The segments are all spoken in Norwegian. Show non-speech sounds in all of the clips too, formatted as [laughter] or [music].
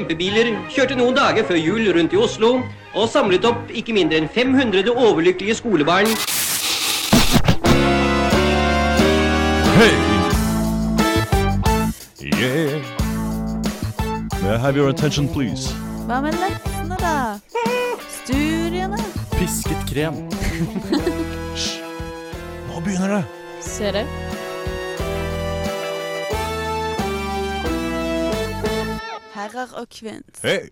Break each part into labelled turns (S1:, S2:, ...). S1: Kjempebiler kjørte noen dager før jul rundt i Oslo og samlet opp ikke mindre enn 500 overlykkelige skolebarn.
S2: Hey! Yeah! May I have your attention, please?
S3: Hva med leksene, da? Studiene?
S4: Pisket krem.
S2: Nå begynner det!
S3: Ser du? Herrer og kvinns.
S2: Hey!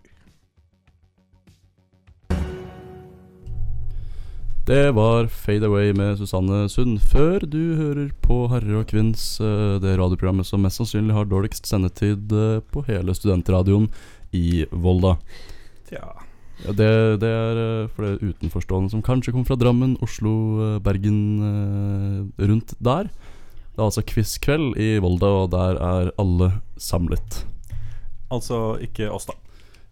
S4: Det var Fade Away med Susanne Sund. Før du hører på Herre og Kvinns, eh, det radioprogrammet som mest sannsynlig har dårligst sendetid eh, på hele studentradioen i Volda.
S5: Tja
S4: Ja, det, det er eh, for det utenforstående som kanskje kommer fra Drammen, Oslo, eh, Bergen, eh, rundt der. Det er altså quizkveld i Volda, og der er alle samlet.
S5: Altså ikke oss, da.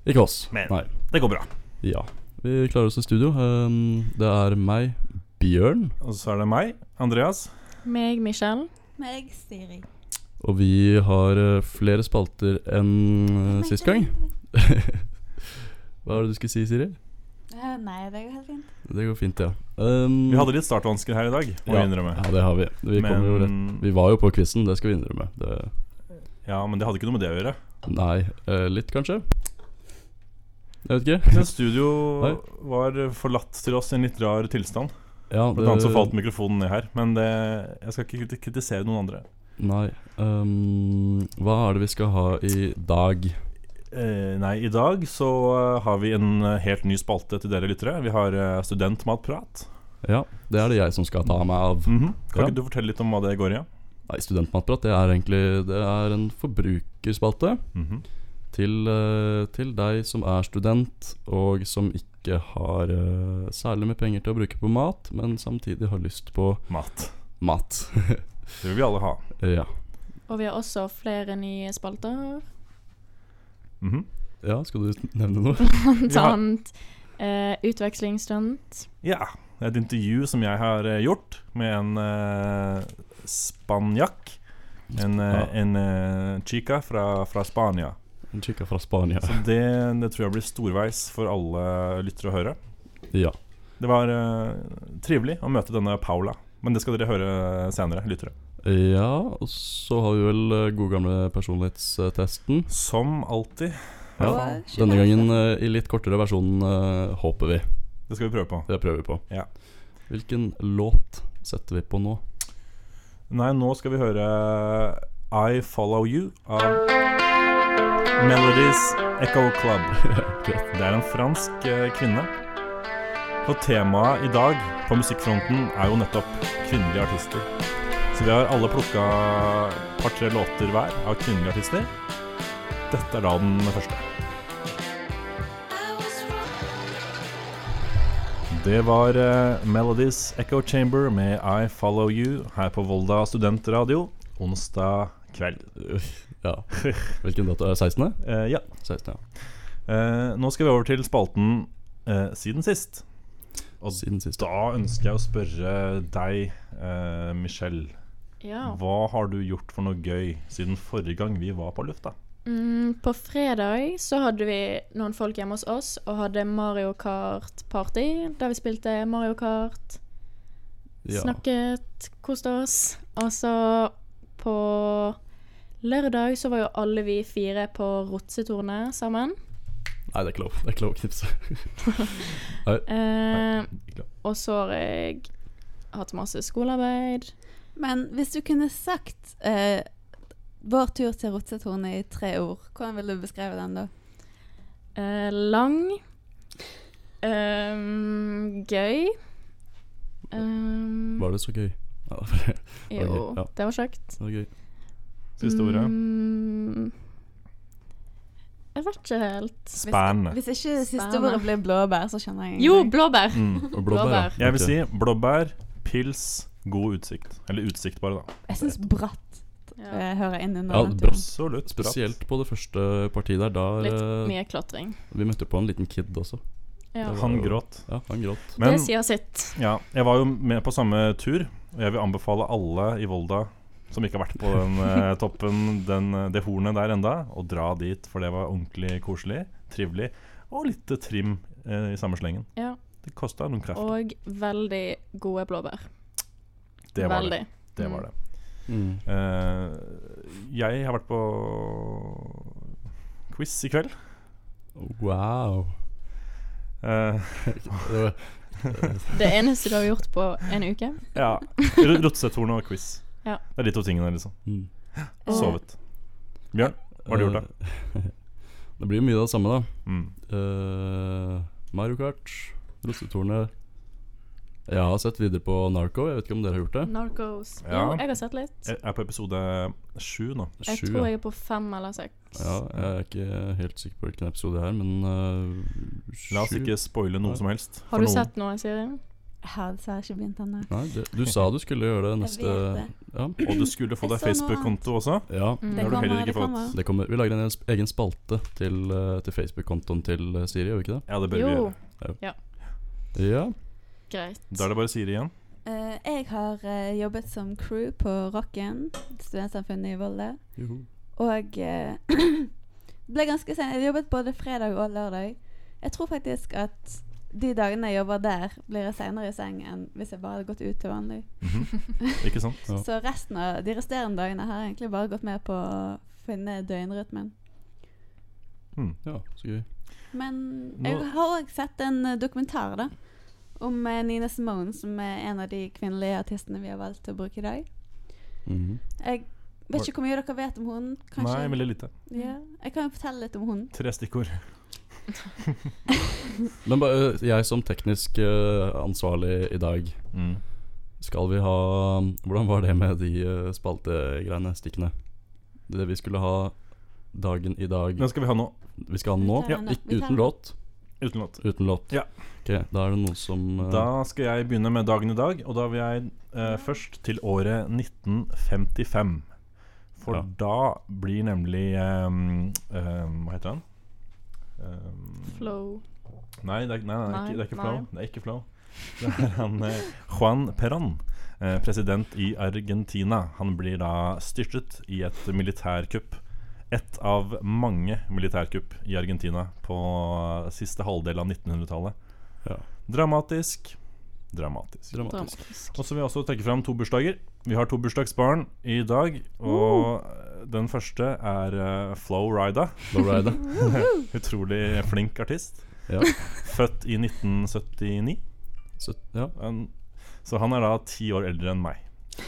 S4: Ikke oss,
S5: Men-
S4: nei.
S5: Det går bra.
S4: Ja. Vi klarer oss i studio. Um, det er meg, Bjørn.
S5: Og så er det meg, Andreas.
S6: Meg, Michelle.
S3: Meg, Siri.
S4: Og vi har eh, flere spalter enn eh, sist gang. [laughs] Hva er det du skulle si, Siri?
S3: Eh, Nei, det går helt fint.
S4: Det går fint, ja. Um,
S5: Vi hadde litt startvansker her i dag, må
S4: ja,
S5: jeg innrømme.
S4: Ja, det har vi. Vi, kommer jo rett. vi var jo på quizen, det skal vi innrømme. Det,
S5: ja, men det hadde ikke noe med det
S4: [laughs]
S5: å gjøre.
S4: nei, eh, litt kanskje? Jeg vet ikke.
S5: Jeg synes studio
S4: Nei.
S5: var forlatt til oss i en litt rar tilstand.
S4: Ja,
S5: Blant annet så falt mikrofonen ned her. Men det, jeg skal ikke kriti- kritisere noen andre.
S4: Nei. Um, hva er det vi skal ha i dag?
S5: Eh, nei, i dag så eh, har vi en eh, helt ny spalte til dere lyttere. Vi har eh, studentmatprat.
S4: Ja, det er det jeg som skal ta meg av.
S5: Mhm. Kan
S4: Ja.
S5: ikke du fortelle litt om hva det går i? Ja?
S4: Nei, Studentmatprat det er egentlig Det er en forbrukerspalte
S5: Mhm.
S4: til, eh, til deg som er student, og som ikke har eh, særlig med penger til å bruke på mat, men samtidig har lyst på
S5: Mat.
S4: mat. [laughs]
S5: Det vil vi alle ha.
S4: ja.
S6: Og vi har også flere nye spalter.
S5: Mhm.
S4: ja, skal du nevne noe?
S6: [laughs] Blant
S5: Ja.
S6: annet eh, utvekslingsstudent.
S5: Ja, det er et intervju som jeg har eh, gjort med en eh, spanjakk. En, eh,
S4: Ja.
S5: en eh, chica fra, fra Spania.
S4: En chica fra Spania.
S5: Så det, det tror jeg blir storveis for alle lyttere å høre.
S4: Ja.
S5: Det var eh, trivelig å møte denne Paula, men det skal dere høre senere, lyttere.
S4: ja, og så har vi vel eh, god gamle personlighetstesten.
S5: Som alltid.
S4: Ja, Denne gangen eh, i litt kortere versjon, eh, håper vi.
S5: Det skal vi prøve på.
S4: Det prøver vi på.
S5: Ja.
S4: Hvilken låt setter vi på nå? [laughs]
S5: Nei, nå skal vi høre eh, I Follow You av Melodies Echo Club. Det er en fransk eh, kvinne. Og temaet i dag på musikkfronten er jo nettopp kvinnelige artister. Så vi har alle plukka et par-tre låter hver av kvinnelige artister. Dette er da den første. Det var eh, Melodies Echo Chamber med I Follow You her på Volda studentradio onsdag kveld.
S4: Ja. Hvilken dato er det? 16.?
S5: Eh, ja.
S4: 16, ja.
S5: Eh, nå skal vi over til spalten eh, Siden sist. Og
S4: Siden sist.
S5: Da ønsker jeg å spørre deg, eh, Michelle.
S6: Ja.
S5: Hva har du gjort for noe gøy siden forrige gang vi var på lufta?
S6: Mm, på fredag så hadde vi noen folk hjemme hos oss og hadde Mario Kart-party. Der vi spilte Mario Kart,
S4: Ja.
S6: snakket, koste oss. Og så på lørdag så var jo alle vi fire på Rotsetornet sammen.
S4: Nei, det er ikke lov. Det er ikke lov å knipse.
S6: Eh,
S5: Ikke lov.
S6: og så har jeg hatt masse skolearbeid.
S3: Men hvis du kunne sagt eh, vår tur til Rotsetornet i tre ord, hvordan ville du beskrevet den da?
S6: Eh, lang. Ehm, gøy. Ehm,
S4: Var det så gøy? Ja, det var-
S6: jo,
S4: ok, ja.
S6: det var kjekt.
S4: det var gøy.
S5: Siste ordet.
S6: Mm, jeg vet ikke helt.
S5: Spennende.
S3: Hvis ikke det siste
S6: Spennende.
S3: ordet blir blåbær, så skjønner jeg
S6: Jo, blåbær!
S5: Mm.
S4: Og
S6: Blåbær.
S4: ja.
S5: Jeg
S4: Ok.
S5: vil si blåbær, pils, god utsikt. Eller utsikt, bare, da.
S3: Jeg syns bratt
S6: Ja.
S3: eh, hører inn
S4: Ja,
S3: under den turen.
S4: brass.
S5: Absolutt. bra.
S4: Spesielt på det første partiet der. Der
S6: Litt
S4: eh,
S6: mye klatring.
S4: vi møtte på en liten kid også.
S6: Ja.
S5: Han gråt.
S4: Ja, han gråt.
S5: Men
S6: det sier sitt.
S5: ja, jeg var jo med på samme tur, og jeg vil anbefale alle i Volda som ikke har vært på
S6: [laughs]
S5: den eh, toppen, den, eh, det hornet der enda, og dra dit, for det var ordentlig koselig, trivelig, og litt eh, trim eh, i samme slengen.
S6: Ja.
S5: Det kosta noen krefter.
S6: Og veldig gode blåbær.
S5: Det var
S6: veldig.
S5: det. det, var det.
S4: Mm.
S5: Eh, jeg har vært på quiz i kveld.
S4: Wow.
S5: Eh,
S4: Det var,
S6: Det eneste du har gjort på en uke.
S5: ja. Ro- Rotsetornet og quiz.
S6: Ja.
S5: Det er de to tingene, liksom.
S4: mm.
S6: Og Eh,
S5: Sovet. Bjørn, hva har du gjort, da?
S4: Eh, [laughs] Det blir jo mye av det samme, da.
S5: Mm.
S4: Eh, Mario Kart, Rosetårnet Jeg har sett videre på Narco, jeg vet ikke om dere har gjort det?
S6: Narcos.
S5: Ja.
S6: Jo, jeg har sett litt.
S5: Jeg er på episode sju nå.
S6: Jeg
S4: Sju,
S6: tror
S4: ja.
S6: jeg er på fem eller seks.
S4: ja. Jeg er ikke helt sikker på hvilken episode det er, men eh, sju
S5: La oss ikke spoile noe
S4: Ja.
S5: som helst. for
S6: Har du
S5: noen.
S6: sett noe, Siri?
S3: Eh, Ja, dessverre ikke begynt ennå.
S4: Nei, det, du sa du skulle gjøre det neste
S3: vet det.
S4: Ja.
S5: Og du skulle få
S3: Jeg
S5: deg
S3: så noe
S5: Facebook-konto også.
S4: ja.
S5: Det har du heller ikke fått.
S4: Det kommer, vi lager en s- egen spalte til, eh, til Facebook-kontoen til eh, Siri, gjør vi ikke det?
S5: Ja, det bør vi
S6: Jo,
S5: gjøre.
S4: Ja.
S6: greit.
S5: Da er det bare Siri igjen.
S3: Eh, jeg har eh, jobbet som crew på Rocken, studentsamfunnet i Volda. Og eh, [clears throat] ble ganske sen. Jeg jobbet både fredag og lørdag. Jeg tror faktisk at de dagene jeg jobber der, blir jeg seinere i seng enn hvis jeg bare hadde gått ut til vanlig.
S5: Ikke sant?
S4: Ja.
S3: Så resten av de resterende dagene har jeg egentlig bare gått med på å finne døgnrytmen.
S4: ja, så gøy.
S3: Men
S5: Nå-
S3: jeg har òg sett en eh, dokumentar, da. Om eh, Nina Simone, som er en av de kvinnelige artistene vi har valgt å bruke i dag.
S5: Mm-hmm.
S4: Mhm.
S3: Jeg vet ikke hvor mye dere vet om hun, kanskje?
S5: Nei, veldig lite.
S3: ja. Jeg kan jo fortelle litt om hun.
S5: Tre stikkord.
S4: Men ba, eh, jeg som teknisk eh, ansvarlig i dag,
S5: Mm.
S4: Skal vi ha Hvordan var det med de eh, spaltegreiene, stikkene? Det vi skulle ha dagen i dag
S5: Den skal vi ha nå,
S4: Vi skal ha den nå?
S3: Vi tar den nå. Vi tar
S4: Ikke
S3: den
S4: uten
S3: nå.
S4: låt?
S5: uten låt.
S4: Uten låt.
S5: Ja.
S4: Ok, da er det noe som eh,
S5: Da skal jeg begynne med dagen i dag, og da vil jeg eh, først til året 1955. For
S4: Ja.
S5: da blir nemlig ehm, ehm, Hva heter han? Ehm,
S6: Flow.
S5: Nei, det er, nei, nei,
S6: Nei,
S5: det er ikke, det er ikke
S6: nei.
S5: Flow. Det er ikke Flow. [laughs] Det er han eh, Juan Perón, eh, president i Argentina. Han blir da styrtet i et militærkupp. Ett av mange militærkupp i Argentina på eh, siste halvdel av 1900-tallet.
S4: Ja.
S5: Dramatisk. Dramatisk.
S4: Dramatisk.
S6: Dramatisk.
S5: Og så vil jeg også trekke fram to bursdager. Vi har to bursdagsbarn i dag. Og den første er eh, Flo Rida.
S4: Lowrider.
S3: [laughs]
S5: Utrolig flink artist.
S4: Ja.
S5: Født i 1979.
S4: Så- Ja.
S5: Han- Så han er da ti år eldre enn meg.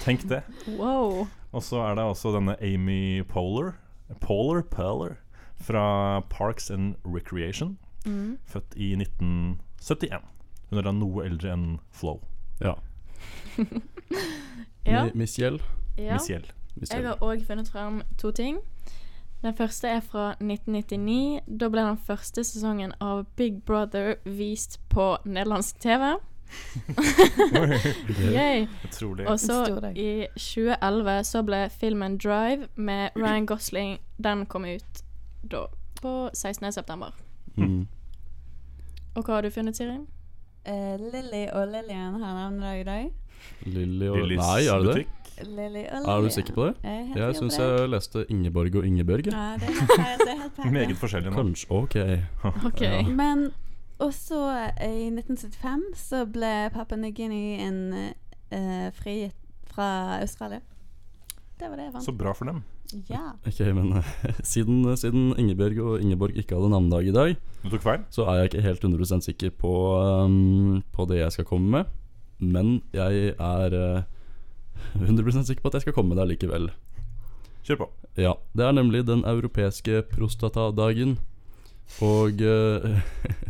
S5: Tenk det.
S6: Wow.
S5: Og så er det også denne Amy Polar Polar Polar fra Parks and Recreation.
S6: Mm.
S5: Født i 1971. Hun er da noe eldre enn Flo.
S4: ja.
S6: Ja.
S4: Mi- Miss Gjell.
S6: ja.
S5: Miss
S6: [laughs]
S5: Gjell.
S4: Miss
S6: Jeg
S4: Gjell.
S6: har òg funnet frem to ting. Den første er fra 1999. Da ble den første sesongen av Big Brother vist på nederlandsk TV. Yay.
S5: Utrolig.
S6: Og så
S3: En stor dag.
S6: i 2011 så ble filmen Drive med Ryan Gosling Den kom ut da på 16. september.
S4: [laughs] Mm.
S6: Og hva har du funnet, Siri?
S3: Eh, Lilly og Lillian har navnedag i dag.
S4: Lilly og
S5: Lillys
S4: Nei, er det det?
S5: butikk.
S3: Lilly og Lillian.
S4: Er du sikker på det?
S3: Jeg er helt
S4: Jeg
S3: sikker på
S4: syns
S3: det.
S4: jeg leste Ingeborg og Ingebjørg. jeg.
S3: Ja, det er helt- det er helt perfekt.
S5: Meget forskjellig nå.
S4: Kanskje Ok.
S6: OK.
S4: Ja.
S3: Men også eh, i 1975 så ble Papua Ny-Guinea en eh, frigitt fra Australia. Det var det jeg
S5: Så
S3: vant.
S5: bra for dem.
S3: Ja.
S4: Ok, men [laughs] eh, siden, siden Ingebjørg og Ingeborg ikke hadde navnedag i dag,
S5: Du tok feil?
S4: så er jeg ikke helt 100 sikker på, ehm, på det jeg skal komme med. Men jeg er eh, 100 sikker på at jeg skal komme med det likevel.
S5: Kjør på.
S4: Ja, det er nemlig den europeiske prostatadagen. Og eh, [laughs]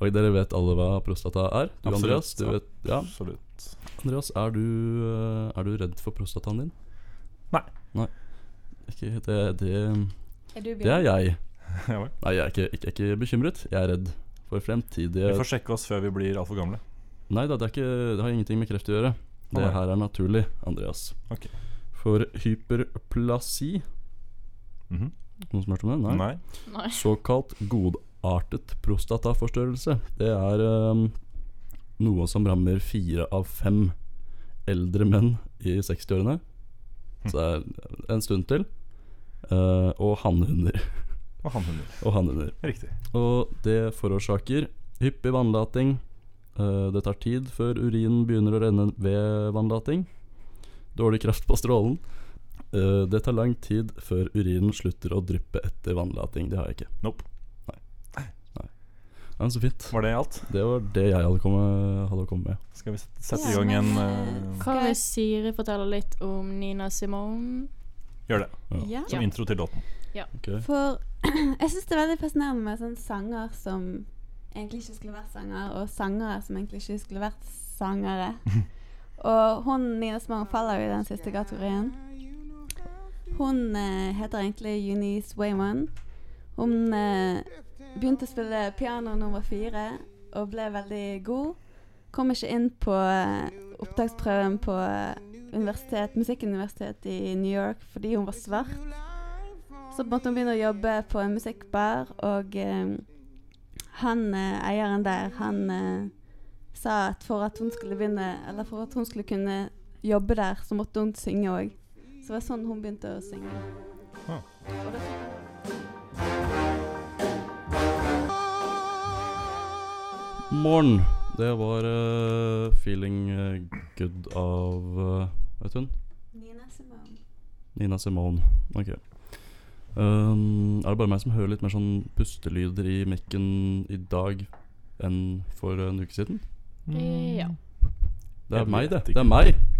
S4: Og dere vet alle hva prostata er? Du,
S5: Absolutt,
S4: Andreas, du
S5: ja.
S4: vet, ja.
S5: Absolutt.
S4: Andreas er, du, eh, er du redd for prostataen din?
S5: Nei.
S4: Nei. Ikke, det, det,
S3: Er du
S4: det er jeg.
S5: [laughs] Ja vel.
S4: Nei, jeg er ikke, ikke, ikke bekymret. Jeg er redd for fremtidige
S5: Vi får sjekke oss før vi blir altfor gamle.
S4: Nei da, det, er ikke, det har ingenting med kreft å gjøre. Det
S5: Å, nei.
S4: her er naturlig, Andreas.
S5: Ok.
S4: For hyperplasi
S5: Mhm.
S4: Noen som har hørt om det? Nei.
S5: Nei.
S6: Nei.
S4: Såkalt godartet prostataforstørrelse. Det er ehm, noe som rammer fire av fem eldre menn i 60-årene. Så det er en stund til. Eh, og hannhunder.
S5: Og hannhunder.
S4: Og hannhunder.
S5: Riktig.
S4: Og det forårsaker hyppig vannlating. Eh, Det tar tid før urinen begynner å renne ved vannlating. Dårlig kraft på strålen. Eh, Det tar lang tid før urinen slutter å dryppe etter vannlating. Det har jeg ikke.
S5: Nope.
S4: Nei. Nei. Nei, så fint.
S5: Var det alt?
S4: Det var det jeg hadde kommet, hadde kommet med.
S5: Skal vi sette, sette
S3: Ja,
S5: i gang en
S3: men,
S5: eh,
S3: eh,
S6: Hva hvis Siri forteller litt om Nina Simone?
S5: Gjør det.
S4: Ja.
S6: Ja.
S5: Som intro til låten.
S4: Ok.
S3: For [clears throat] jeg syns det er veldig fascinerende med sånne sanger som egentlig ikke skulle vært sanger, og sangere som egentlig ikke skulle vært sangere. Og hun Nina Smang faller jo i den siste kategorien. Hun eh, heter egentlig Eunice Wayman. Hun eh, begynte å spille piano da hun var fire, og ble veldig god. Kom ikke inn på eh, opptaksprøven på eh, universitet, musikkuniversitet i New York fordi hun var svart. Så måtte hun begynne å jobbe på en musikkbar, og eh, han eh, eieren der, han eh, sa at for at hun skulle begynne, eller for at hun skulle kunne jobbe der, så måtte hun synge òg. Så det var sånn hun begynte å synge.
S5: Ah.
S3: Og da fikk
S4: Morn. Det var eh, feeling eh, good av eh, Vet hun?
S3: Nina Simone.
S4: Nina Simone. Ok. Um, er det bare meg som hører litt mer sånn pustelyder i mikken i dag enn for en uke siden?
S5: Mm.
S6: Ja.
S4: Det
S5: Jeg
S4: er meg, det.
S5: vet ikke.
S4: Det er meg!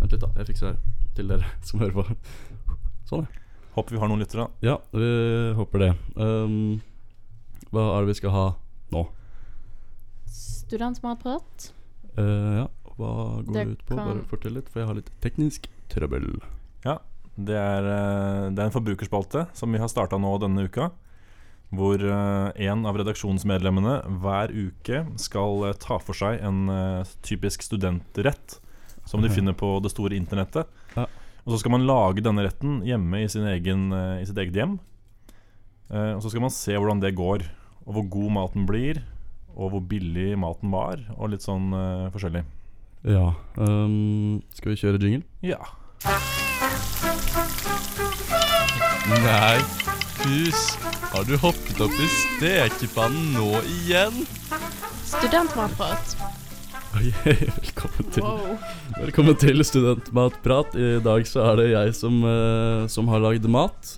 S4: Vent litt, da. Jeg fikser det her til dere [laughs] som hører på. Sånn, ja.
S5: Håper vi har noen lyttere. da.
S4: Ja, vi håper det. Um, hva er det vi skal ha nå?
S6: Studentmatprat.
S4: Eh, ja, hva går det
S6: Det
S4: ut på? Bare
S6: kan-
S4: fortell litt, for jeg har litt teknisk trøbbel.
S5: Det er, eh, det er en forbrukerspalte som vi har starta nå denne uka. Hvor eh, en av redaksjonsmedlemmene hver uke skal eh, ta for seg en eh, typisk studentrett som de
S4: Ok.
S5: finner på det store internettet.
S4: Mhm. Ja.
S5: Og så skal man lage denne retten hjemme i, sin egen, eh, i sitt eget hjem. Eh, Og så skal man se hvordan det går, og hvor god maten blir, og hvor billig maten var, og litt sånn eh, forskjellig.
S4: Ja. Um, skal vi kjøre jingle?
S5: Ja.
S4: Nei, pus. Har du hoppet opp i stekepannen nå igjen?
S6: Studentmatprat.
S4: [laughs] Velkommen til,
S6: Wow.
S4: velkommen til Studentmatprat. I dag så er det jeg som, eh, som har lagd mat.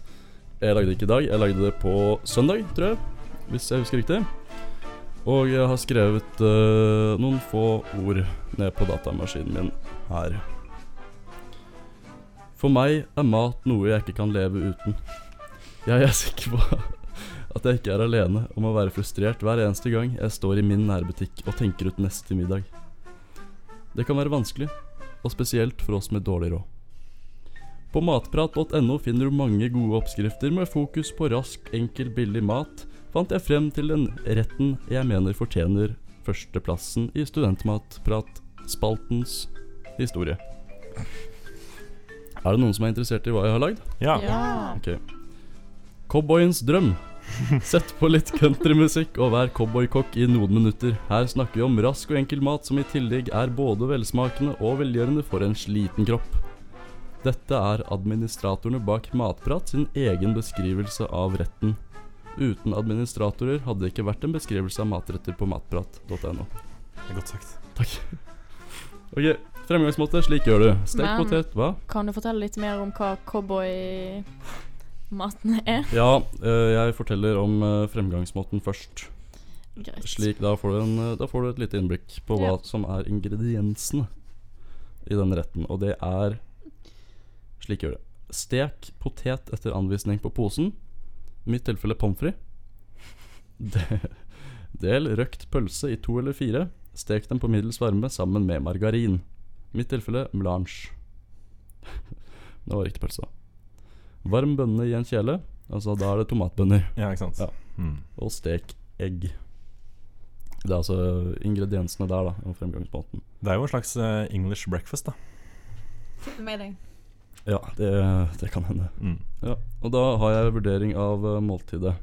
S4: Jeg lagde det ikke i dag, jeg lagde det på søndag, tror jeg. Hvis jeg husker riktig. Og jeg har skrevet eh, noen få ord ned på datamaskinen min her. For meg er mat noe jeg ikke kan leve uten. Jeg er sikker på at jeg ikke er alene om å være frustrert hver eneste gang jeg står i min nærbutikk og tenker ut neste middag. Det kan være vanskelig, og spesielt for oss med dårlig råd. På matprat.no finner du mange gode oppskrifter med fokus på rask, enkel, billig mat, fant jeg frem til den retten jeg mener fortjener førsteplassen i Studentmatprat-spaltens historie. Er det noen som er interessert i hva jeg har lagd?
S5: Ja.
S6: Ja.
S4: Ok Cowboyens drøm Sett på litt countrymusikk og vær cowboykokk i noen minutter. Her snakker vi om rask og enkel mat som i tillegg er både velsmakende og velgjørende for en sliten kropp. Dette er administratorene bak Matprat sin egen beskrivelse av retten. Uten administratorer hadde det ikke vært en beskrivelse av matretter på matprat.no.
S5: Det er godt sagt.
S4: Takk. Ok, fremgangsmåte. Slik gjør du. Stekt
S6: Men-
S4: potet, hva?
S6: Kan du fortelle litt mer om hva cowboymaten er?
S4: Ja, eh, jeg forteller om eh, fremgangsmåten først.
S6: Greit.
S4: Slik, da får du, en, eh, da får du et lite innblikk på hva
S6: Ja.
S4: som er ingrediensene i denne retten. Og det er Slik gjør det. Stek potet etter anvisning på posen. I mitt tilfelle pommes frites. [laughs] De- Del røkt pølse i to eller fire. Stek dem på middels varme sammen med margarin. I mitt tilfelle melange. [laughs] Det var riktig pølse. da. Varm bønne i en kjele. Altså, da er det tomatbønner
S5: Ja, ikke sant.
S4: Ja.
S5: Mm.
S4: og stek egg. Det er altså ingrediensene der, da, og fremgangsmåten.
S5: Det er jo en slags eh, English breakfast, da.
S4: Ja, det, det kan hende.
S5: Mm.
S4: Ja, Og da har jeg vurdering av eh, måltidet.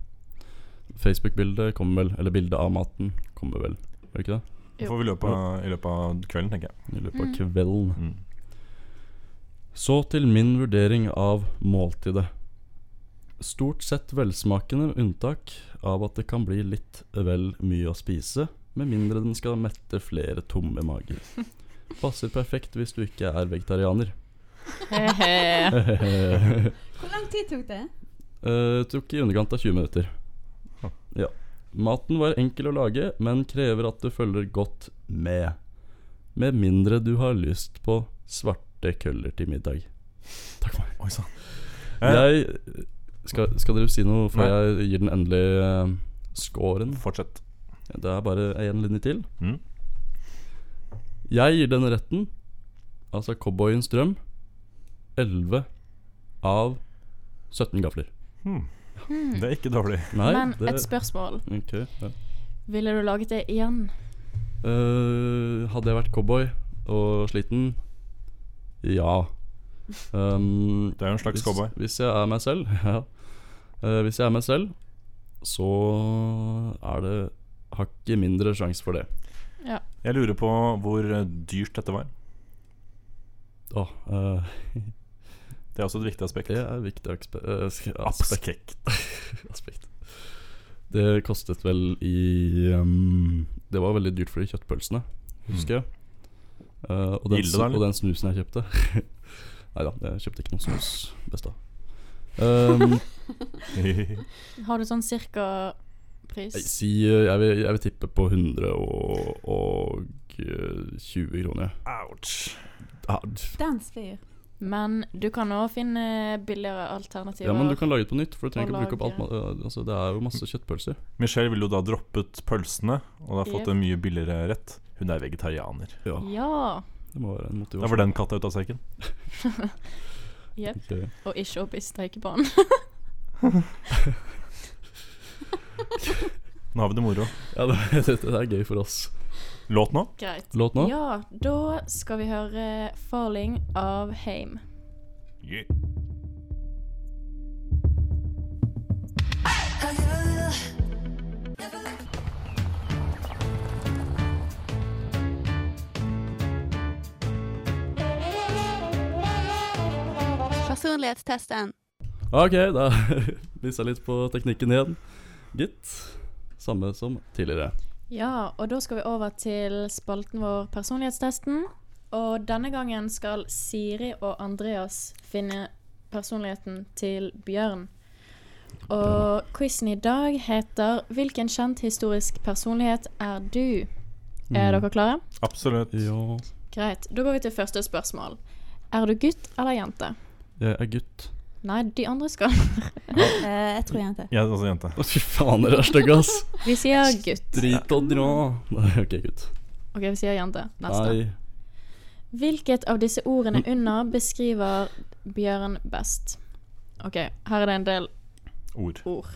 S4: Facebook-bildet kommer vel, eller bildet av maten kommer vel, gjør det ikke det?
S5: Det får vi i løpet av, i løpet av kvelden, tenker jeg.
S4: I løpet av kvelden.
S5: Mm.
S4: Så til min vurdering av måltidet. Stort sett velsmakende, med unntak av at det kan bli litt vel mye å spise, med mindre den skal mette flere tomme mager. Passer perfekt hvis du ikke er vegetarianer.
S6: [laughs] Hehe.
S4: Eh,
S3: Hvor lang tid tok det?
S4: [laughs] tok i underkant av 20 minutter. Ja. Maten var enkel å lage, men krever at du følger godt med. Med mindre du har lyst på svarte køller til middag. Takk for meg.
S5: Oi sann. Eh,
S4: Jeg skal, skal dere si noe før
S5: Nei.
S4: jeg gir den endelige eh, scoren?
S5: fortsett.
S4: Det er bare én linje til.
S5: Mm.
S4: Jeg gir denne retten, altså cowboyens drøm, 11 av 17 gafler.
S5: Det er ikke dårlig.
S4: Nei,
S6: Men
S4: det
S6: et spørsmål.
S4: Ok, ja.
S6: Ville du laget det igjen?
S4: Eh, hadde jeg vært cowboy og sliten? Ja. Um,
S5: Det er jo en slags
S4: hvis,
S5: cowboy.
S4: Hvis jeg er meg selv, [laughs] ja. Eh, hvis jeg er meg selv, så er det hakket mindre sjanse for det.
S5: Jeg lurer på hvor eh, dyrt dette var.
S4: Åh, eh,
S5: Det er også et viktig aspekt.
S4: det er viktig akspe eh, sk- [laughs] aspekt,
S5: Aspekt.
S4: aspekt. Det kostet vel i um, Det var veldig dyrt for de kjøttpølsene, husker jeg. Eh, og, den,
S5: Gilde, da, eller?
S4: og den snusen jeg kjøpte [laughs] Nei da, jeg kjøpte ikke noe snus. Best da.
S5: [laughs]
S4: Um,
S5: Mm.
S6: Har du sånn cirka pris?
S4: jeg, si, eh, jeg, vil, jeg vil tippe på 120 eh, kroner.
S5: Ouch.
S4: Ja,
S3: Den svir.
S6: Men du kan òg finne billigere alternativer.
S4: ja, men du kan lage det på nytt, for du trenger
S6: Og
S4: ikke å bruke opp alt.
S6: lage-
S4: ma- eh, Altså, det er jo masse kjøttpølser.
S5: Michelle ville jo da droppet pølsene, og da fått en mye billigere rett. Hun er vegetarianer.
S4: Ja,
S6: Ja.
S4: det må være en
S5: Da
S4: motivasjon.
S5: var den katta ut av sekken.
S6: Jepp.
S4: Ok.
S6: Og ikke opp i stekebanen.
S5: Nå har vi det moro.
S4: Ja, det, [laughs] det, det er gøy for oss.
S5: Låt nå.
S6: [laughs] Greit.
S4: Låt nå?
S6: Ja, da skal vi høre 'Falling' av Heim.
S3: Personlighetstesten.
S4: Ok, da [laughs] lyser jeg litt på teknikken igjen. Gitt. Samme som tidligere.
S6: Ja, og da skal vi over til spalten vår Personlighetstesten. Og denne gangen skal Siri og Andreas finne personligheten til Bjørn. Og quizen i dag heter 'Hvilken kjent historisk personlighet er du?' Er dere klare?
S5: Absolutt.
S4: Ja,
S6: Greit. Da går vi til første spørsmål. Er du gutt eller jente?
S4: jeg er gutt.
S6: Nei, de andre skal [laughs]
S3: Eh, jeg tror jente.
S5: Jeg er også altså, jente.
S4: Å, fy faen, dere er stygge, ass.
S6: Vi sier gutt.
S4: Drit og dra. Nei, ok, gutt.
S6: OK, vi sier jente. Neste.
S4: Nei.
S6: Hvilket av disse ordene under beskriver Bjørn best? OK, her er det en del
S5: Ord.
S6: ord.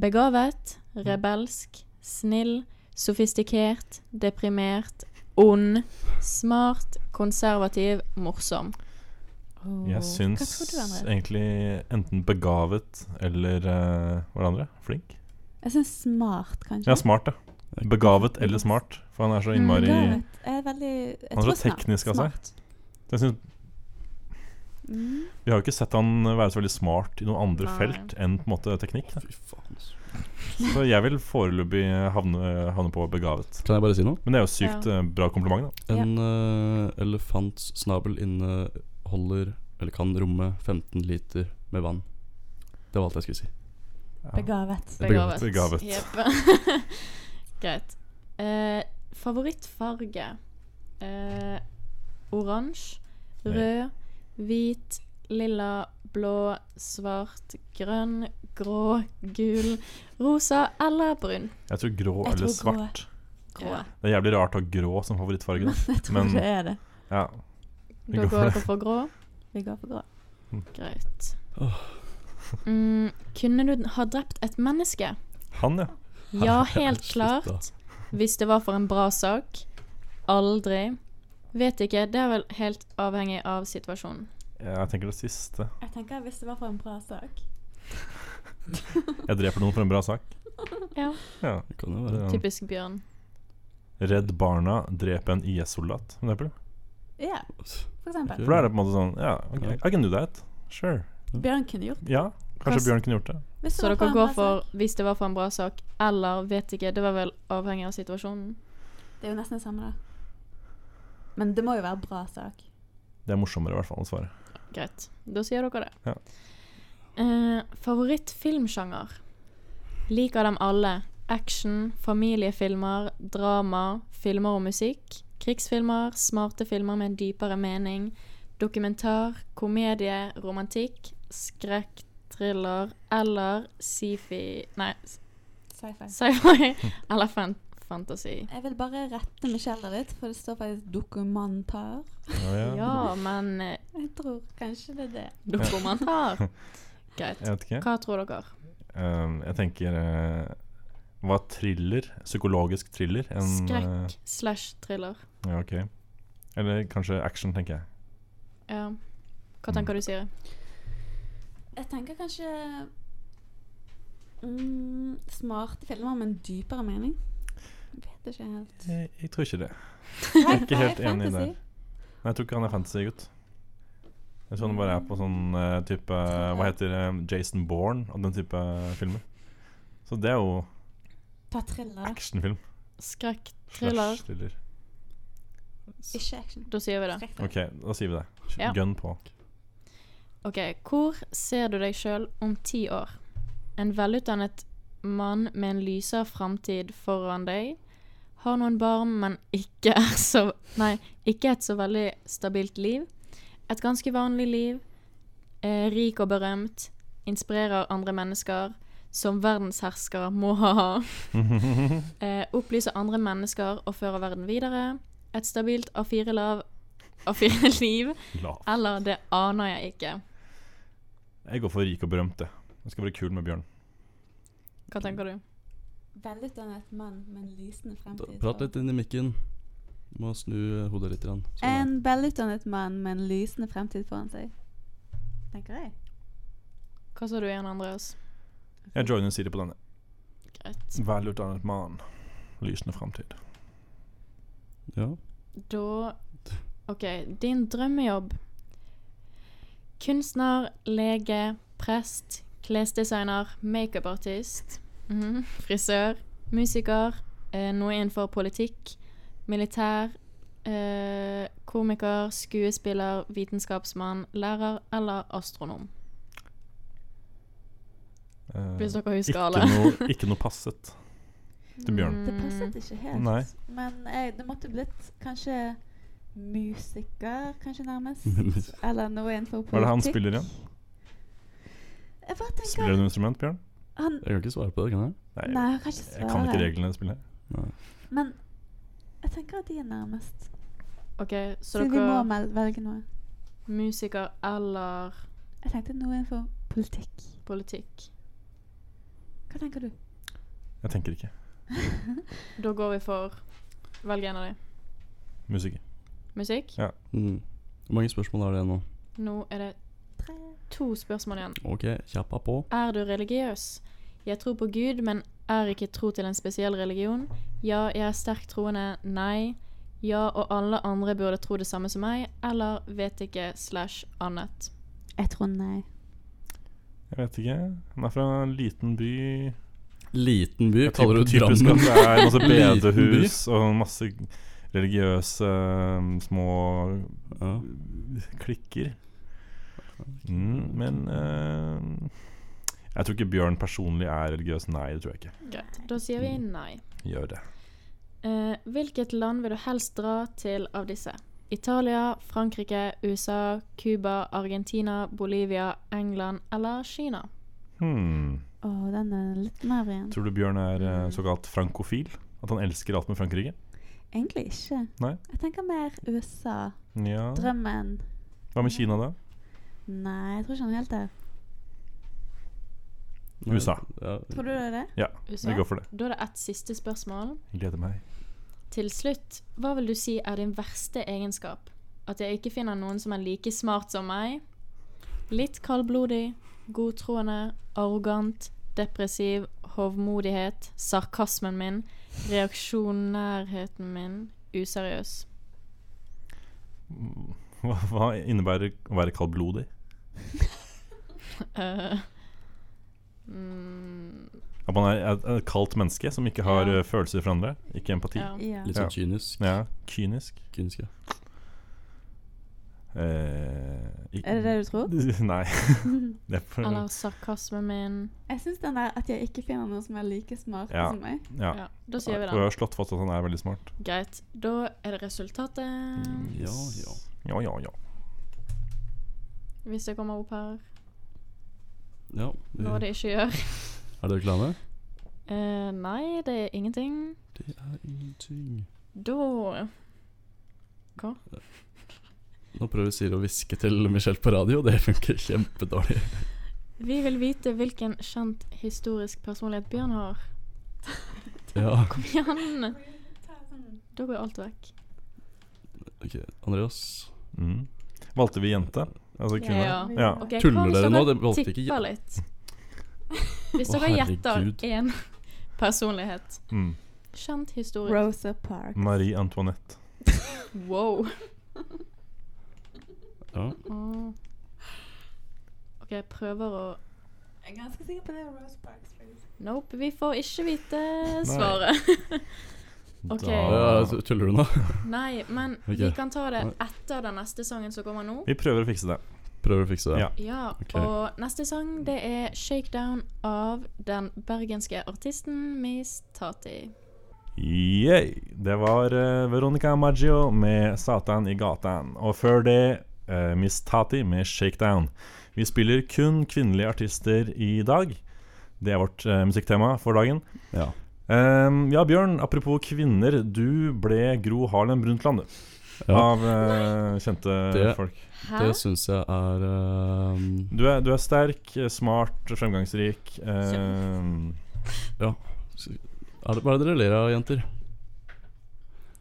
S6: Begavet, rebelsk, snill, sofistikert, deprimert, ond, smart, konservativ, morsom.
S5: Jeg syns
S6: Hva tror du, André?
S5: egentlig enten begavet eller eh, Hva er det andre? Flink?
S3: Jeg syns smart, kanskje.
S5: Ja, smart, ja. Begavet eller smart. For han er så innmari
S3: Gavet. Jeg Mm, er veldig Jeg
S5: Han er
S3: tror
S5: så
S3: smart.
S5: teknisk altså. av seg.
S3: Smart.
S5: Jeg synes,
S3: Mm.
S5: Vi har jo ikke sett han være så veldig smart i noen andre
S6: Nei.
S5: felt enn på en måte
S3: [laughs]
S5: teknikk. Da.
S4: Fy faen. ass.
S5: Så jeg vil foreløpig havne, havne på begavet.
S4: Kan jeg bare si noe?
S5: Men det er jo sykt eh, bra kompliment, da.
S3: Ja.
S4: En eh, elefants snabel inneholder, eller kan romme, 15 liter med vann. Det var alt jeg skulle si.
S3: Begavet.
S6: Begavet.
S5: Begavet.
S6: Jepp. [laughs] Greit. Eh, favorittfarge? Eh, Oransje, rød, hvit, lilla, blå, svart, grønn, grå, gul, rosa eller brun?
S5: Jeg tror grå
S3: Jeg
S5: eller
S3: tror grå.
S5: svart.
S3: Grå.
S6: Ja,
S5: Det er jævlig rart å ha grå som favorittfarge. Da.
S3: [laughs] Jeg tror
S5: Men-
S3: det er det.
S5: Ja.
S6: Da går dere for grå?
S3: Vi går for grå.
S6: Greit. Mm, kunne du ha drept et menneske?
S5: Han, ja.
S6: Ja, helt
S4: Slutt, da.
S6: klart. Hvis det var for en bra sak. Aldri. Vet ikke. Det er vel helt avhengig av situasjonen.
S5: Jeg tenker det siste.
S3: Jeg tenker Hvis det var for en bra sak
S5: Jeg dreper noen for en bra sak.
S6: Ja.
S5: Ja.
S4: Det kan jo
S5: det
S4: være.
S5: er-
S6: Typisk Bjørn.
S5: Redd Barna dreper en IS-soldat, for eksempel.
S3: Ja, for eksempel.
S4: Ok.
S5: For da er det på en måte sånn Ja, ok,
S4: Ja.
S5: I can do that. Sure.
S3: Bjørn kunne gjort
S5: Ja,
S6: Pass.
S5: kanskje Bjørn kunne gjort det.
S3: Hvis det
S6: Så
S3: var
S6: dere
S3: en
S6: går
S3: bra
S6: for
S3: sak.
S6: 'hvis det var for en bra sak' eller 'vet ikke'? Det var vel avhengig av situasjonen.
S3: Det er jo nesten det samme, da. Men det må jo være bra sak.
S5: Det er morsommere i hvert fall å
S6: [laughs]
S5: svare.
S6: Greit. Da sier dere det.
S5: Ja.
S6: Eh, Favorittfilmsjanger? Liker dem alle. Action, familiefilmer, drama, filmer og musikk. Krigsfilmer, smarte filmer med en dypere mening. Dokumentar, komedie, romantikk, skrekk, thriller eller sci-fi Nei,
S3: Sci-fi.
S5: [laughs]
S6: sci-fi eller fan fantasy.
S3: Jeg vil bare rette Michelle litt, for det står faktisk 'dokumentar'.
S5: Ja,
S6: Ja, men eh,
S3: Jeg tror kanskje det er det.
S5: [laughs]
S6: dokumentar. Greit.
S5: Jeg vet ikke.
S6: Hva tror dere?
S5: Ehm, jeg tenker eh, Hva thriller? Psykologisk thriller? En, eh,
S6: Skrekk slash thriller.
S5: ja, ok. Eller kanskje action, tenker jeg.
S6: Ja. Hva tenker du, Siri?
S3: Jeg tenker kanskje mm, smarte filmer med en dypere mening. Jeg vet ikke helt.
S5: Jeg, jeg tror ikke det.
S3: Jeg
S5: ikke helt enig der. Nei, jeg tror ikke han er fantasygutt. Jeg tror han bare er på sånn eh, type Hva heter det? Jason Bourne og den type filmer. Så det er jo
S3: Ta thriller.
S5: actionfilm.
S6: Skrekk, thriller.
S5: Slash thriller.
S3: Ikke action.
S6: Da sier vi det.
S3: Skrekk.
S5: Ok, da sier vi det.
S6: Ja.
S5: Gun på.
S6: Ok, Hvor ser du deg sjøl om ti år? En velutdannet mann med en lysere framtid foran deg. Har noen barn, men ikke [laughs] er så Nei, ikke et så veldig stabilt liv. Et ganske vanlig liv. Eh, rik og berømt. Inspirerer andre mennesker. Som verdenshersker må ha. eh, opplyser andre mennesker og fører verden videre. Et stabilt A4-lav A4-liv.
S5: La.
S6: Eller det aner jeg ikke.
S5: Jeg går for rik og berømt, det. Jeg skal være kul med Bjørn.
S6: Hva tenker du?
S3: Velutdannet mann med en lysende fremtid.
S4: Prat litt inn i mikken. Må snu eh, hodet litt. Grann. Sånn, ja.
S3: En velutdannet mann med en lysende fremtid foran seg. Tenker jeg.
S6: Hva sa du igjen, Andreas?
S5: Jeg joiner Siri på denne.
S6: Greit.
S5: Velutdannet mann. Lysende framtid.
S4: ja. [laughs]
S6: Da OK, din drømmejobb. Kunstner, lege, prest, klesdesigner, makeupartist, mhm, frisør, musiker, eh, noe innenfor politikk, militær, eh, komiker, skuespiller, vitenskapsmann, lærer eller astronom.
S5: Eh,
S6: Hvis dere husker
S5: ikke,
S6: alle.
S5: noe,
S6: [laughs]
S5: ikke noe passet til Bjørn.
S3: Det passet ikke helt.
S5: Nei.
S3: Men jeg, det måtte blitt kanskje musiker, kanskje
S5: [laughs]
S3: nærmest.
S4: Musiker.
S3: Eller noe innenfor politikk.
S5: Hva er det han spiller igjen?
S3: Jeg bare tenker
S5: Spiller du noe instrument, Bjørn?
S3: han
S4: Jeg kan ikke svare på det, kan jeg?
S5: Nei,
S3: Nei, jeg kan ikke svare.
S5: jeg kan ikke reglene jeg spiller.
S4: Nei.
S3: Men jeg tenker at de er nærmest.
S6: OK, så
S3: Siden vi må
S6: dere
S3: mel- velge noe.
S6: musiker eller
S3: Jeg tenkte noe innenfor politikk.
S6: politikk.
S3: Hva tenker du?
S5: Jeg tenker ikke.
S6: Da går vi for Velg en av de.
S5: Musiker.
S6: Musikk.
S4: Mm. Hvor mange spørsmål er det nå?
S6: Nå er det
S3: Tre.
S6: to spørsmål igjen.
S4: Ok, kjappa på.
S6: Er du religiøs? Jeg tror på Gud, men er ikke tro til en spesiell religion. Ja, jeg er sterkt troende. Nei. Ja, og alle andre burde tro det samme som meg. Eller vet ikke slash annet.
S3: Jeg tror nei.
S5: Jeg vet ikke. Han er fra en liten by.
S4: Liten by,
S5: Jeg
S4: kaller du
S5: tenker typisk
S4: Drammen?
S5: at det er
S4: [laughs]
S5: masse
S4: Liten by.
S5: bedehus og masse religiøse um, små
S4: Ja.
S5: klikker. Mm, men eh, jeg tror ikke Bjørn personlig er religiøs. Nei, det tror jeg ikke.
S6: Greit. Da sier vi nei.
S5: Gjør det.
S6: Eh, hvilket land vil du helst dra til av disse? Italia, Frankrike, USA, Cuba, Argentina, Bolivia, England eller Kina?
S5: Hmm.
S3: Å, den er litt mer igjen.
S5: Tror du Bjørn er eh, såkalt frankofil? At han elsker alt med Frankrike?
S3: Egentlig ikke.
S5: Nei.
S3: Jeg tenker mer USA.
S5: Ja.
S3: Drømmen.
S5: Hva med Kina, da?
S3: Nei, jeg tror ikke han er helt der.
S4: Nei,
S5: USA.
S4: Ja.
S3: Tror du det er det?
S5: Vi går for det.
S6: Da er det ett siste spørsmål.
S5: Jeg gleder meg.
S6: Til slutt, hva vil du si er din verste egenskap? At jeg ikke finner noen som er like smart som meg? Litt kaldblodig, godtroende, arrogant, depressiv, hovmodighet, sarkasmen min, reaksjonærheten min, useriøs.
S5: Hva, hva innebærer å være kaldblodig?
S6: Eh, [laughs] mm,
S5: At man er et, et kaldt menneske som ikke har
S6: Ja.
S5: eh, følelser for andre? Ikke empati?
S6: ja.
S3: Ja.
S4: Litt sånn kynisk.
S5: Ja, Kynisk?
S4: kynisk ja.
S5: Eh, i-
S3: Er det det du tror? [laughs]
S5: [laughs] Nei. det er for,
S6: Eller sarkasmen min.
S3: Jeg syns den der at jeg ikke finner noen som er like smart
S5: Ja.
S3: som meg.
S5: ja.
S6: Ja, da
S5: Og
S6: sier vi
S5: jeg
S6: det.
S5: har slått fast at han er veldig smart.
S6: Greit. Da er det resultatet.
S4: Mm, Ja, ja.
S5: Ja, ja, ja.
S6: Hvis jeg kommer opp her.
S4: ja
S6: Noe
S4: vi,
S6: det ikke gjør.
S4: er dere klare?
S6: Eh, nei, det er ingenting.
S4: Det er ingenting
S6: Da
S4: Nå prøver Siri å hviske til Michelle på radio, det funker kjempedårlig.
S6: [laughs] Vi vil vite hvilken kjent historisk personlighet Bjørn har.
S4: Ja,
S6: Kom igjen! Da går alt vekk.
S4: ok, Andreas.
S5: Mm. Valgte vi jente? Altså kvinne?
S6: Ja.
S5: Ja.
S6: Ok, hva
S4: Tuller
S6: hvis
S4: dere
S6: dere
S4: nå? Det valgte ikke
S6: Tipper
S4: [laughs]
S6: litt. Hvis
S4: Å,
S6: dere gjetter
S4: herregud.
S6: én personlighet
S5: Mm.
S6: Kjent historisk.
S3: Rosa Park.
S5: Marie Antoinette.
S6: Wow.
S4: Ja.
S6: Åh. Ah. OK, jeg prøver å
S3: Jeg er ganske sikker på det er Rosa Park.
S6: Nope, vi får ikke vite svaret. [laughs] Ok.
S4: Ja,
S5: Da-
S4: t- tuller du nå? [laughs]
S6: Nei, men
S4: Ok.
S6: vi kan ta det etter den neste sangen som kommer nå.
S5: Vi prøver å fikse det.
S4: Prøver å fikse det.
S5: Ja.
S6: Ja,
S4: Ok.
S6: og neste sang det er 'Shakedown' av den bergenske artisten Miss Tati.
S5: Yay! Det var eh, Veronica Maggio med 'Satan i gatan'. Og før det eh, Miss Tati med 'Shakedown'. Vi spiller kun kvinnelige artister i dag. Det er vårt eh, musikktema for dagen.
S4: Ja.
S5: Ehm, ja, Bjørn, apropos kvinner. Du ble Gro Harlem Brundtland, du.
S4: Ja.
S5: Av eh, kjente
S4: Det-
S5: folk.
S6: Hæ?
S4: Det syns jeg er ehm,
S5: Du er, du er sterk, eh, smart, fremgangsrik. ehm,
S4: er det, Hva er det dere ler av, jenter?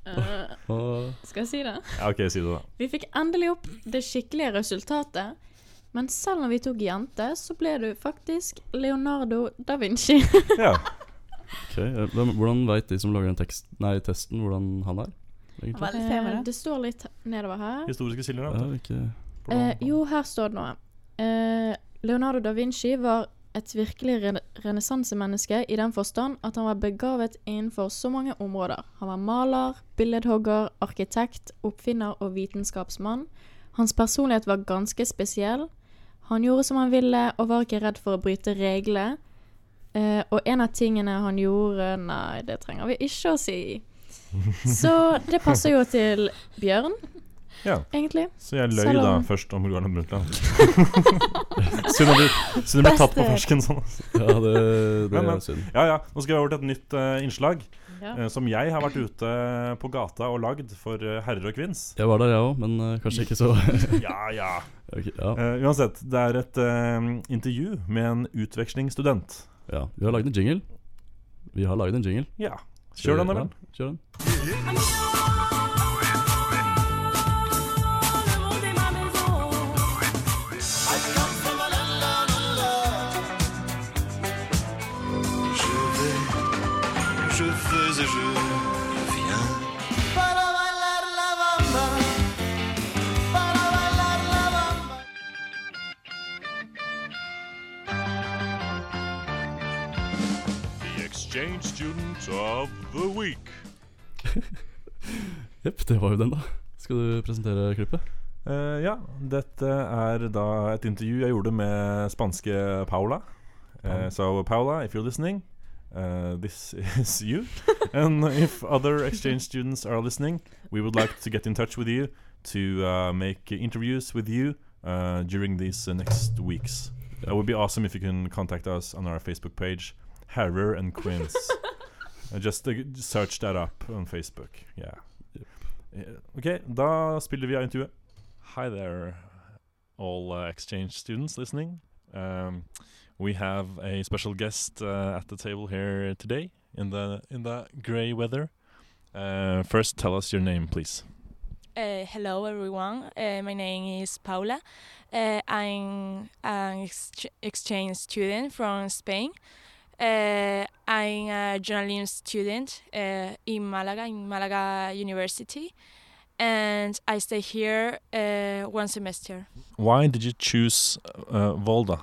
S6: Eh,
S4: Og,
S6: skal jeg si det?
S5: ja, OK, si det, da.
S6: Vi fikk endelig opp det skikkelige resultatet. Men selv om vi tok jente, så ble du faktisk Leonardo da Vinci.
S5: Ja.
S4: ok, eh, hvem- Hvordan veit de som lager den tekst, nei, testen, hvordan han er? Egentlig?
S3: Veldig tema,
S6: Eh,
S3: da.
S6: det står litt nedover her.
S5: [laughs] Historiske kilder, da.
S4: Ja, ikke
S6: Eh, jo, her står det noe. Eh, Leonardo da Vinci var et virkelig re renessansemenneske i den forstand at han var begavet innenfor så mange områder. Han var maler, billedhogger, arkitekt, oppfinner og vitenskapsmann. Hans personlighet var ganske spesiell. Han gjorde som han ville og var ikke redd for å bryte reglene. Eh, og en av tingene han gjorde Nei, det trenger vi ikke å si. Så det passer jo til Bjørn,
S5: Ja.
S6: egentlig.
S5: Så jeg løy
S6: Selv
S5: da
S6: om-
S5: først om Gro Harlem
S6: [laughs]
S5: Brundtland. Synd at du- synd du ble tatt på
S3: Beste.
S5: fersken sånn. altså.
S4: Ja, det, det
S5: Men, men.
S4: er synd.
S5: Ja, ja. Nå skal vi over til et nytt eh, innslag
S6: Ja.
S5: eh, som jeg har vært ute eh, på gata og lagd for eh, herrer og kvinns.
S4: Jeg var der, jeg òg, men eh, kanskje ikke så [laughs]
S5: Ja, ja.
S4: Ok, ja,
S5: Eh, uansett, det er et eh, intervju med en utvekslingsstudent.
S4: ja. Vi har laget en jingle. Vi har laget en jingle.
S5: Ja. Kjør den,
S4: Ja,
S5: Emil.
S4: Kjør den.
S7: Je veux et je viens.
S8: The exchange student of the week.
S4: Jepp, det var jo den, da. Skal du presentere klippet?
S5: Eh, ja, dette er da et intervju jeg gjorde med spanske Paula. Eh, so Paula, if you're listening, eh, this is you. And if other exchange students are listening, we would like to get in touch with you to uh, make interviews with you uh, during these uh, next weeks. It would be awesome if you can contact us on our Facebook page, Harrer and Quince. Uh, just uh, search that up on Facebook. Yeah. Yeah. Okay, da spiller vi av intervjuet. Hi there, all uh, exchange students listening. Um, we have a special guest uh, at the table here today in the in the grey weather. Uh, first, tell us your name, please.
S9: Uh, hello, everyone. Uh, my name is Paula. Uh, I'm an ex- exchange student from Spain. Uh, I'm eh, a journalism student uh, in Malaga, in Malaga University. and I stay here uh, one semester.
S5: Why did you choose uh, Volda?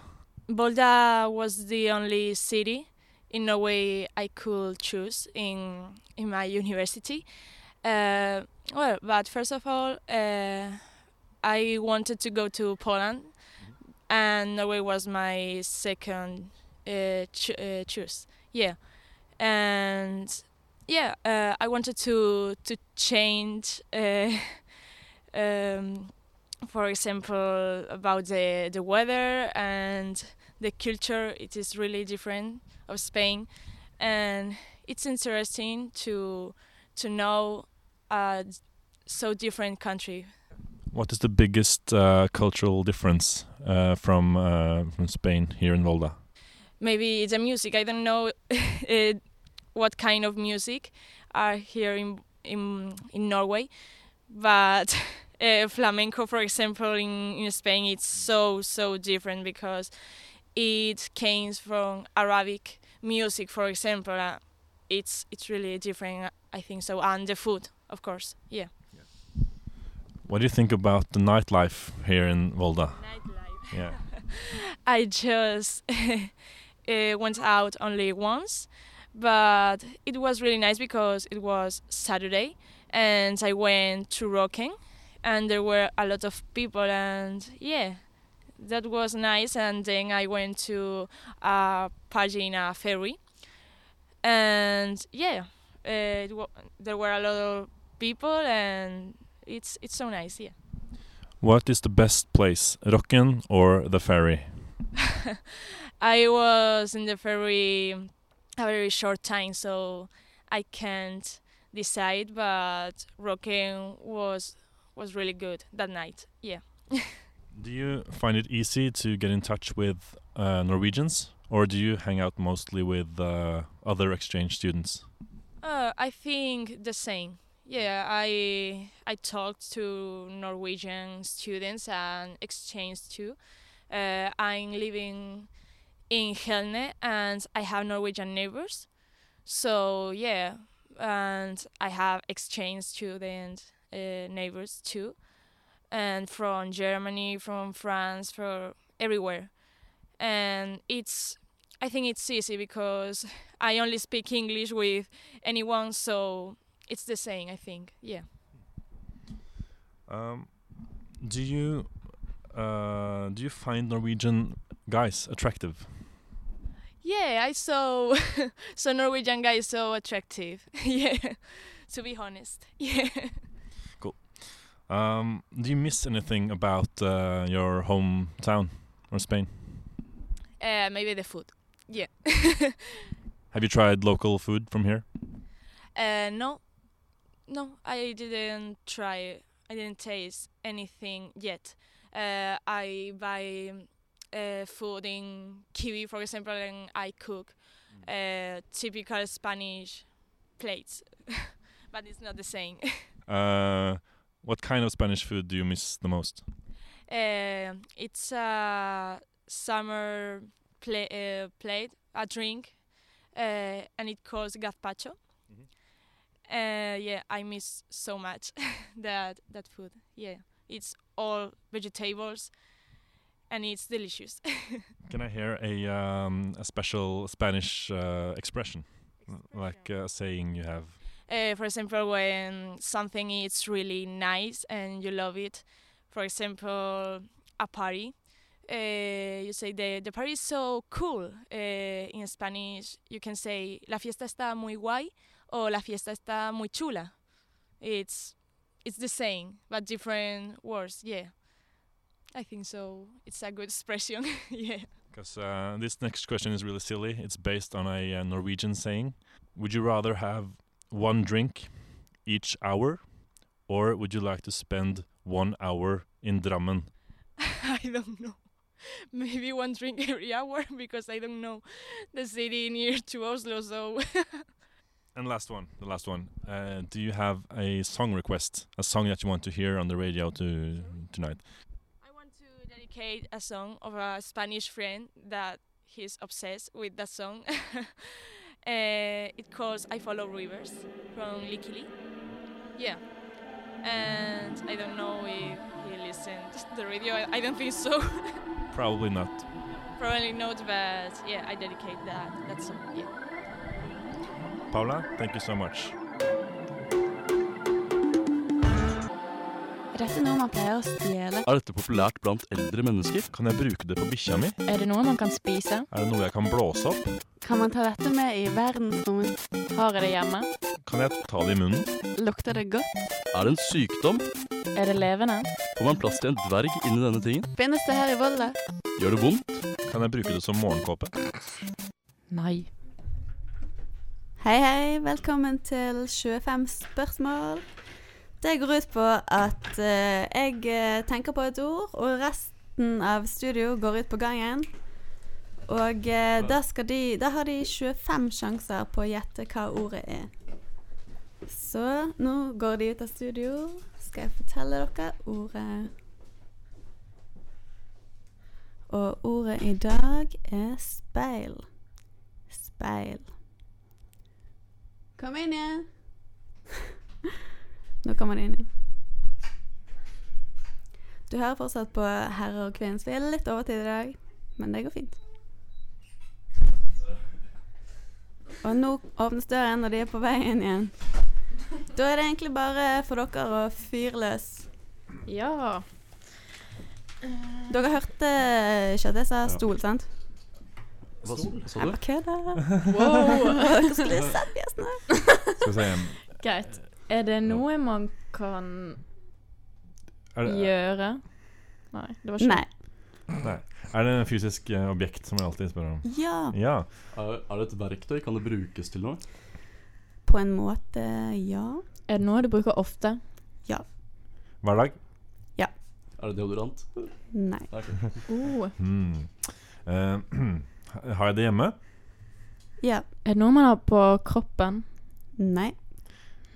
S9: Volda was the only city in Norway I could choose in in my university. Uh, well, but first of all, uh, I wanted to go to Poland, and Norway was my second uh, cho- uh, choice. Yeah, and yeah, uh, I wanted to to change. Uh, [laughs] um, for example, about the the weather and the culture. It is really different of Spain, and it's interesting to to know a so different country.
S5: What is the biggest uh, cultural difference uh, from uh, from Spain here in Volda?
S9: Maybe the music. I don't know [laughs] eh, what kind of music are here in in in Norway, but. [laughs] Uh, flamenco, for example, in, in Spain, it's so so different because it came from Arabic music, for example. Uh, it's it's really different, I think so, and the food, of course. Yeah.
S5: What do you think about the nightlife here in Volda?
S9: nightlife.
S5: Yeah.
S9: [laughs] I just [laughs] uh, went out only once, but it was really nice because it was Saturday and I went to rocking and there were a lot of people and yeah, that was nice. And then I went to a party in a ferry and yeah, uh, it wa- there were a lot of people and it's it's so nice. Yeah.
S5: What is the best place, Rocken or the ferry?
S9: [laughs] I was in the ferry a very short time, so I can't decide. But Rocken was was really good that night. Yeah.
S5: Do you find it easy to get in touch with uh, Norwegians, or do you hang out mostly with uh, other exchange students?
S9: Uh, I think the same. Yeah, I I talked to Norwegian students and exchange too. Uh, I'm living in Helne and I have Norwegian neighbors. So yeah, and I have exchange student uh, neighbors too, and from Germany, from France, from everywhere. And it's I think it's easy because I only speak English with anyone, so it's the same, I think. Yeah.
S5: Um, do you uh, do you find Norwegian guys attractive?
S9: Yeah, I saw [laughs] so Norwegian guy is so attractive. [laughs] yeah. To be honest. [laughs] Yeah.
S5: Um, do you miss anything about uh, your hometown or Spain?
S9: Uh, maybe the food. [laughs]
S5: Have you tried local food from here?
S9: Uh, no. No, I didn't try I didn't taste anything yet. Uh, I buy uh, food in Kiwi, for example, and I cook uh, typical Spanish plates, [laughs] but it's not the same.
S5: Uh, what kind of Spanish food do you miss the most?
S9: Um it's a summer pla- uh, plate, a drink, uh, and it calls gazpacho.
S5: Mhm.
S9: Uh, yeah, I miss so much [laughs] that that food. Yeah, it's all vegetables, and it's delicious.
S5: Can I hear a um, a special Spanish uh, expression, like a saying you have?
S9: Uh, for example, when something is really nice and you love it, for example, a party, uh, you say the, the party is so cool. Uh, in Spanish, you can say la fiesta está muy guay or la fiesta está muy chula. It's it's the same but different words. Yeah, I think so. It's a good [laughs] expression. yeah.
S5: Because uh, this next question is really silly. It's based on a uh, Norwegian saying. Would you rather have one drink each hour, or would you like to spend one hour in Drammen?
S9: [laughs] I don't know. Maybe one drink every hour [laughs] because I don't know the city near to Oslo. So [laughs]
S5: And last one, the last one. Uh, do you have a song request, a song that you want to hear on the radio to tonight?
S9: I want to dedicate a song of a Spanish friend that he's obsessed with that song. [laughs] Eh, uh, it calls "I Follow Rivers" from Likili. Yeah, and I don't know if he listened to the radio. I, I don't think so. [laughs]
S5: Probably not.
S9: Probably not, but yeah, I dedicate that. That's all. Yeah.
S5: Paula, thank you so much.
S6: Er dette noe man pleier å stjele?
S4: Er dette populært blant eldre mennesker?
S5: Kan jeg bruke det på bikkja mi?
S6: Er det noe man kan spise?
S5: Er det noe jeg kan blåse opp?
S3: Kan man ta dette med i verdensrommet?
S6: Har jeg det hjemme?
S5: Kan jeg ta det i munnen?
S3: Lukter det godt?
S4: Er det en sykdom?
S6: Er det levende?
S4: Får man plass til en dverg inni denne tingen?
S3: Finnes det her i Volda?
S4: Gjør det vondt?
S5: Kan jeg bruke det som morgenkåpe?
S6: Nei.
S3: Hei, hei. Velkommen til 25 spørsmål. Det går ut på at eh, jeg eh, tenker på et ord, og resten av studio går ut på gangen. Og eh, da, skal de, da har de 25 sjanser på å gjette hva ordet er. Så nå går de ut av studio. Skal jeg fortelle dere ordet. Og ordet i dag er speil. Speil. Kom inn igjen. [laughs] Nå kommer det inn igjen. Du hører fortsatt på herre og kvinne, så vi er litt overtid i dag, men det går fint. Og nå åpnes døren, og de er på vei inn igjen. Da er det egentlig bare for dere å fyre løs.
S6: Ja.
S3: Dere hørte ikke at jeg sa stol, sant?
S4: Hva s- sa
S3: Jeg
S4: du?
S3: bare kødder.
S6: Wow.
S3: Dere skulle sett gjestene.
S5: Skal vi se
S6: Greit. Er det noe man kan
S5: er det,
S6: gjøre? Nei, det var ikke
S3: Nei.
S5: nei. er det en fysisk eh, objekt som jeg alltid spør om?
S3: Ja.
S5: Ja.
S4: Er, er det et verktøy? Kan det brukes til noe?
S3: På en måte, ja.
S6: Er det noe du bruker ofte?
S5: Hver dag?
S4: Er det deodorant?
S3: Nei.
S6: Oh.
S5: Hmm. Eh, [clears throat] har jeg det hjemme?
S3: Ja.
S6: Er det noe man har på kroppen?
S3: Nei.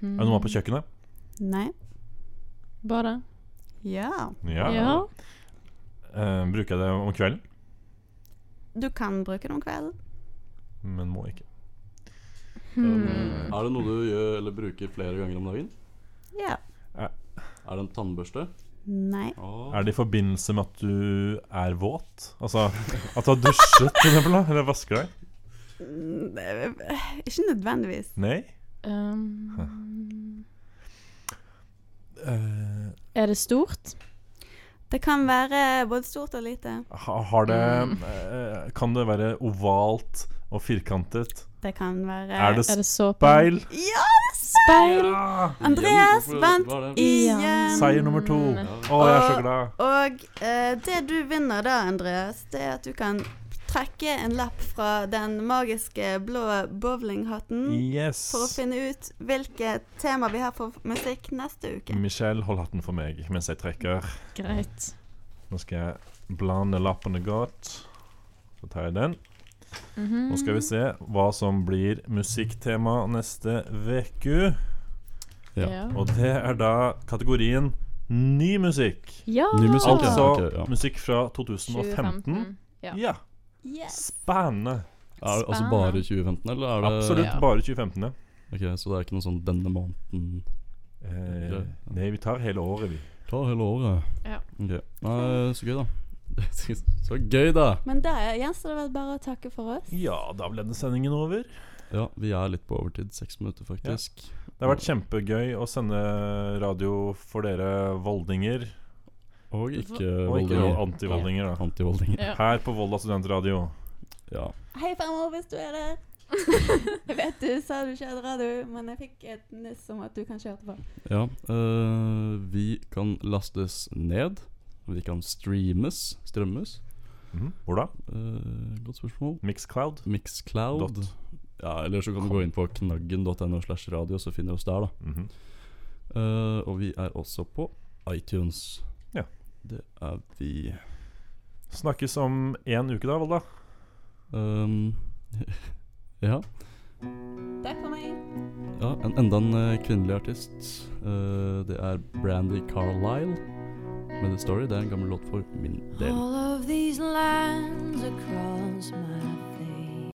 S6: Hmm.
S5: Er det noe på kjøkkenet?
S3: Nei.
S6: Badet?
S3: Ja.
S5: Ja. Eh, bruker jeg det om kvelden?
S3: Du kan bruke det om kvelden.
S5: Men må ikke.
S6: Hmm.
S4: eh, Er det noe du gjør eller bruker flere ganger om dagen?
S3: Ja.
S4: Er det en tannbørste?
S3: Nei.
S4: Åh.
S5: Er det i forbindelse med at du er våt? Altså at du har dusjet, for eksempel? da? Eller vasker deg?
S3: Mm, det- Ikke nødvendigvis.
S5: Nei?
S6: Um,
S5: Eh,
S6: er det stort?
S3: Det kan være både stort og lite.
S5: ha, har det eh, Kan det være ovalt og firkantet?
S3: Det kan være
S5: Er det
S6: Er det såpe?
S5: speil?
S3: Ja!
S6: Speil!
S5: Ja!
S3: Andreas
S4: Igjen, hvorfor-
S3: vant
S4: hva er det?
S3: igjen.
S5: Seier nummer to.
S6: Mm,
S5: Å, jeg er så glad.
S3: Og eh, det du vinner da, Andreas, det er at du kan trekke en lapp fra den magiske blå bowlinghatten
S5: Yes.
S3: for å finne ut hvilket tema vi har for musikk neste uke.
S5: Michelle, hold hatten for meg mens jeg trekker.
S6: Greit.
S5: Nå skal jeg blande lappene godt. Så tar jeg den. Nå skal vi se hva som blir musikktema neste uke.
S4: Ja.
S6: Ja.
S5: Og det er da kategorien ny musikk.
S6: ja.
S4: Ny musikk, ja.
S5: Altså
S4: Ok, ja.
S5: musikk fra 2015.
S6: 2015. Ja.
S5: Ja,
S3: Yes.
S5: spennende.
S4: Er det altså
S6: Spennende.
S4: bare 2015, eller er det
S5: Absolutt
S6: Ja.
S5: bare 2015. ja.
S4: Ok, Så det er ikke noe sånn 'denne måneden'?
S5: Eh, nei, vi tar hele året, vi.
S4: Ta hele året.
S6: Ja.
S4: Ok. Nei, så gøy, da. [laughs] så gøy, da.
S3: Men da gjenstår det vel bare å takke for oss.
S5: Ja, da ble denne sendingen over.
S4: Ja, vi er litt på overtid. Seks minutter, faktisk.
S5: Det har vært kjempegøy å sende radio for dere voldinger.
S4: Og ikke
S5: Og ikke
S4: voldinger.
S5: antivoldinger, da.
S4: Antivoldinger.
S6: Ja.
S5: Her på Volda studentradio.
S4: Ja.
S3: Hei fremover hvis du er der. Jeg vet du sa du ikke hadde radio, men jeg fikk et nyss om at du kanskje hørte på.
S4: ja. eh, vi kan lastes ned. Vi kan streames. Strømmes.
S5: Mhm. Hvor da?
S4: Eh, godt spørsmål.
S5: Mixcloud.
S4: Mixcloud.
S5: Dot.
S4: Ja, eller så kan du gå inn på knaggen.no slash radio, så finner du oss der, da.
S5: Mhm.
S4: Eh, og vi er også på iTunes.
S5: Ja.
S4: Det er vi.
S5: Snakkes om én uke, da, Volda.
S4: Um, [laughs] ja.
S3: Takk for meg.
S4: ja en, enda en eh, kvinnelig artist. Eh, det er Brandy Carlisle med The Story. Det er en gammel låt for min del.
S10: All of these lines across my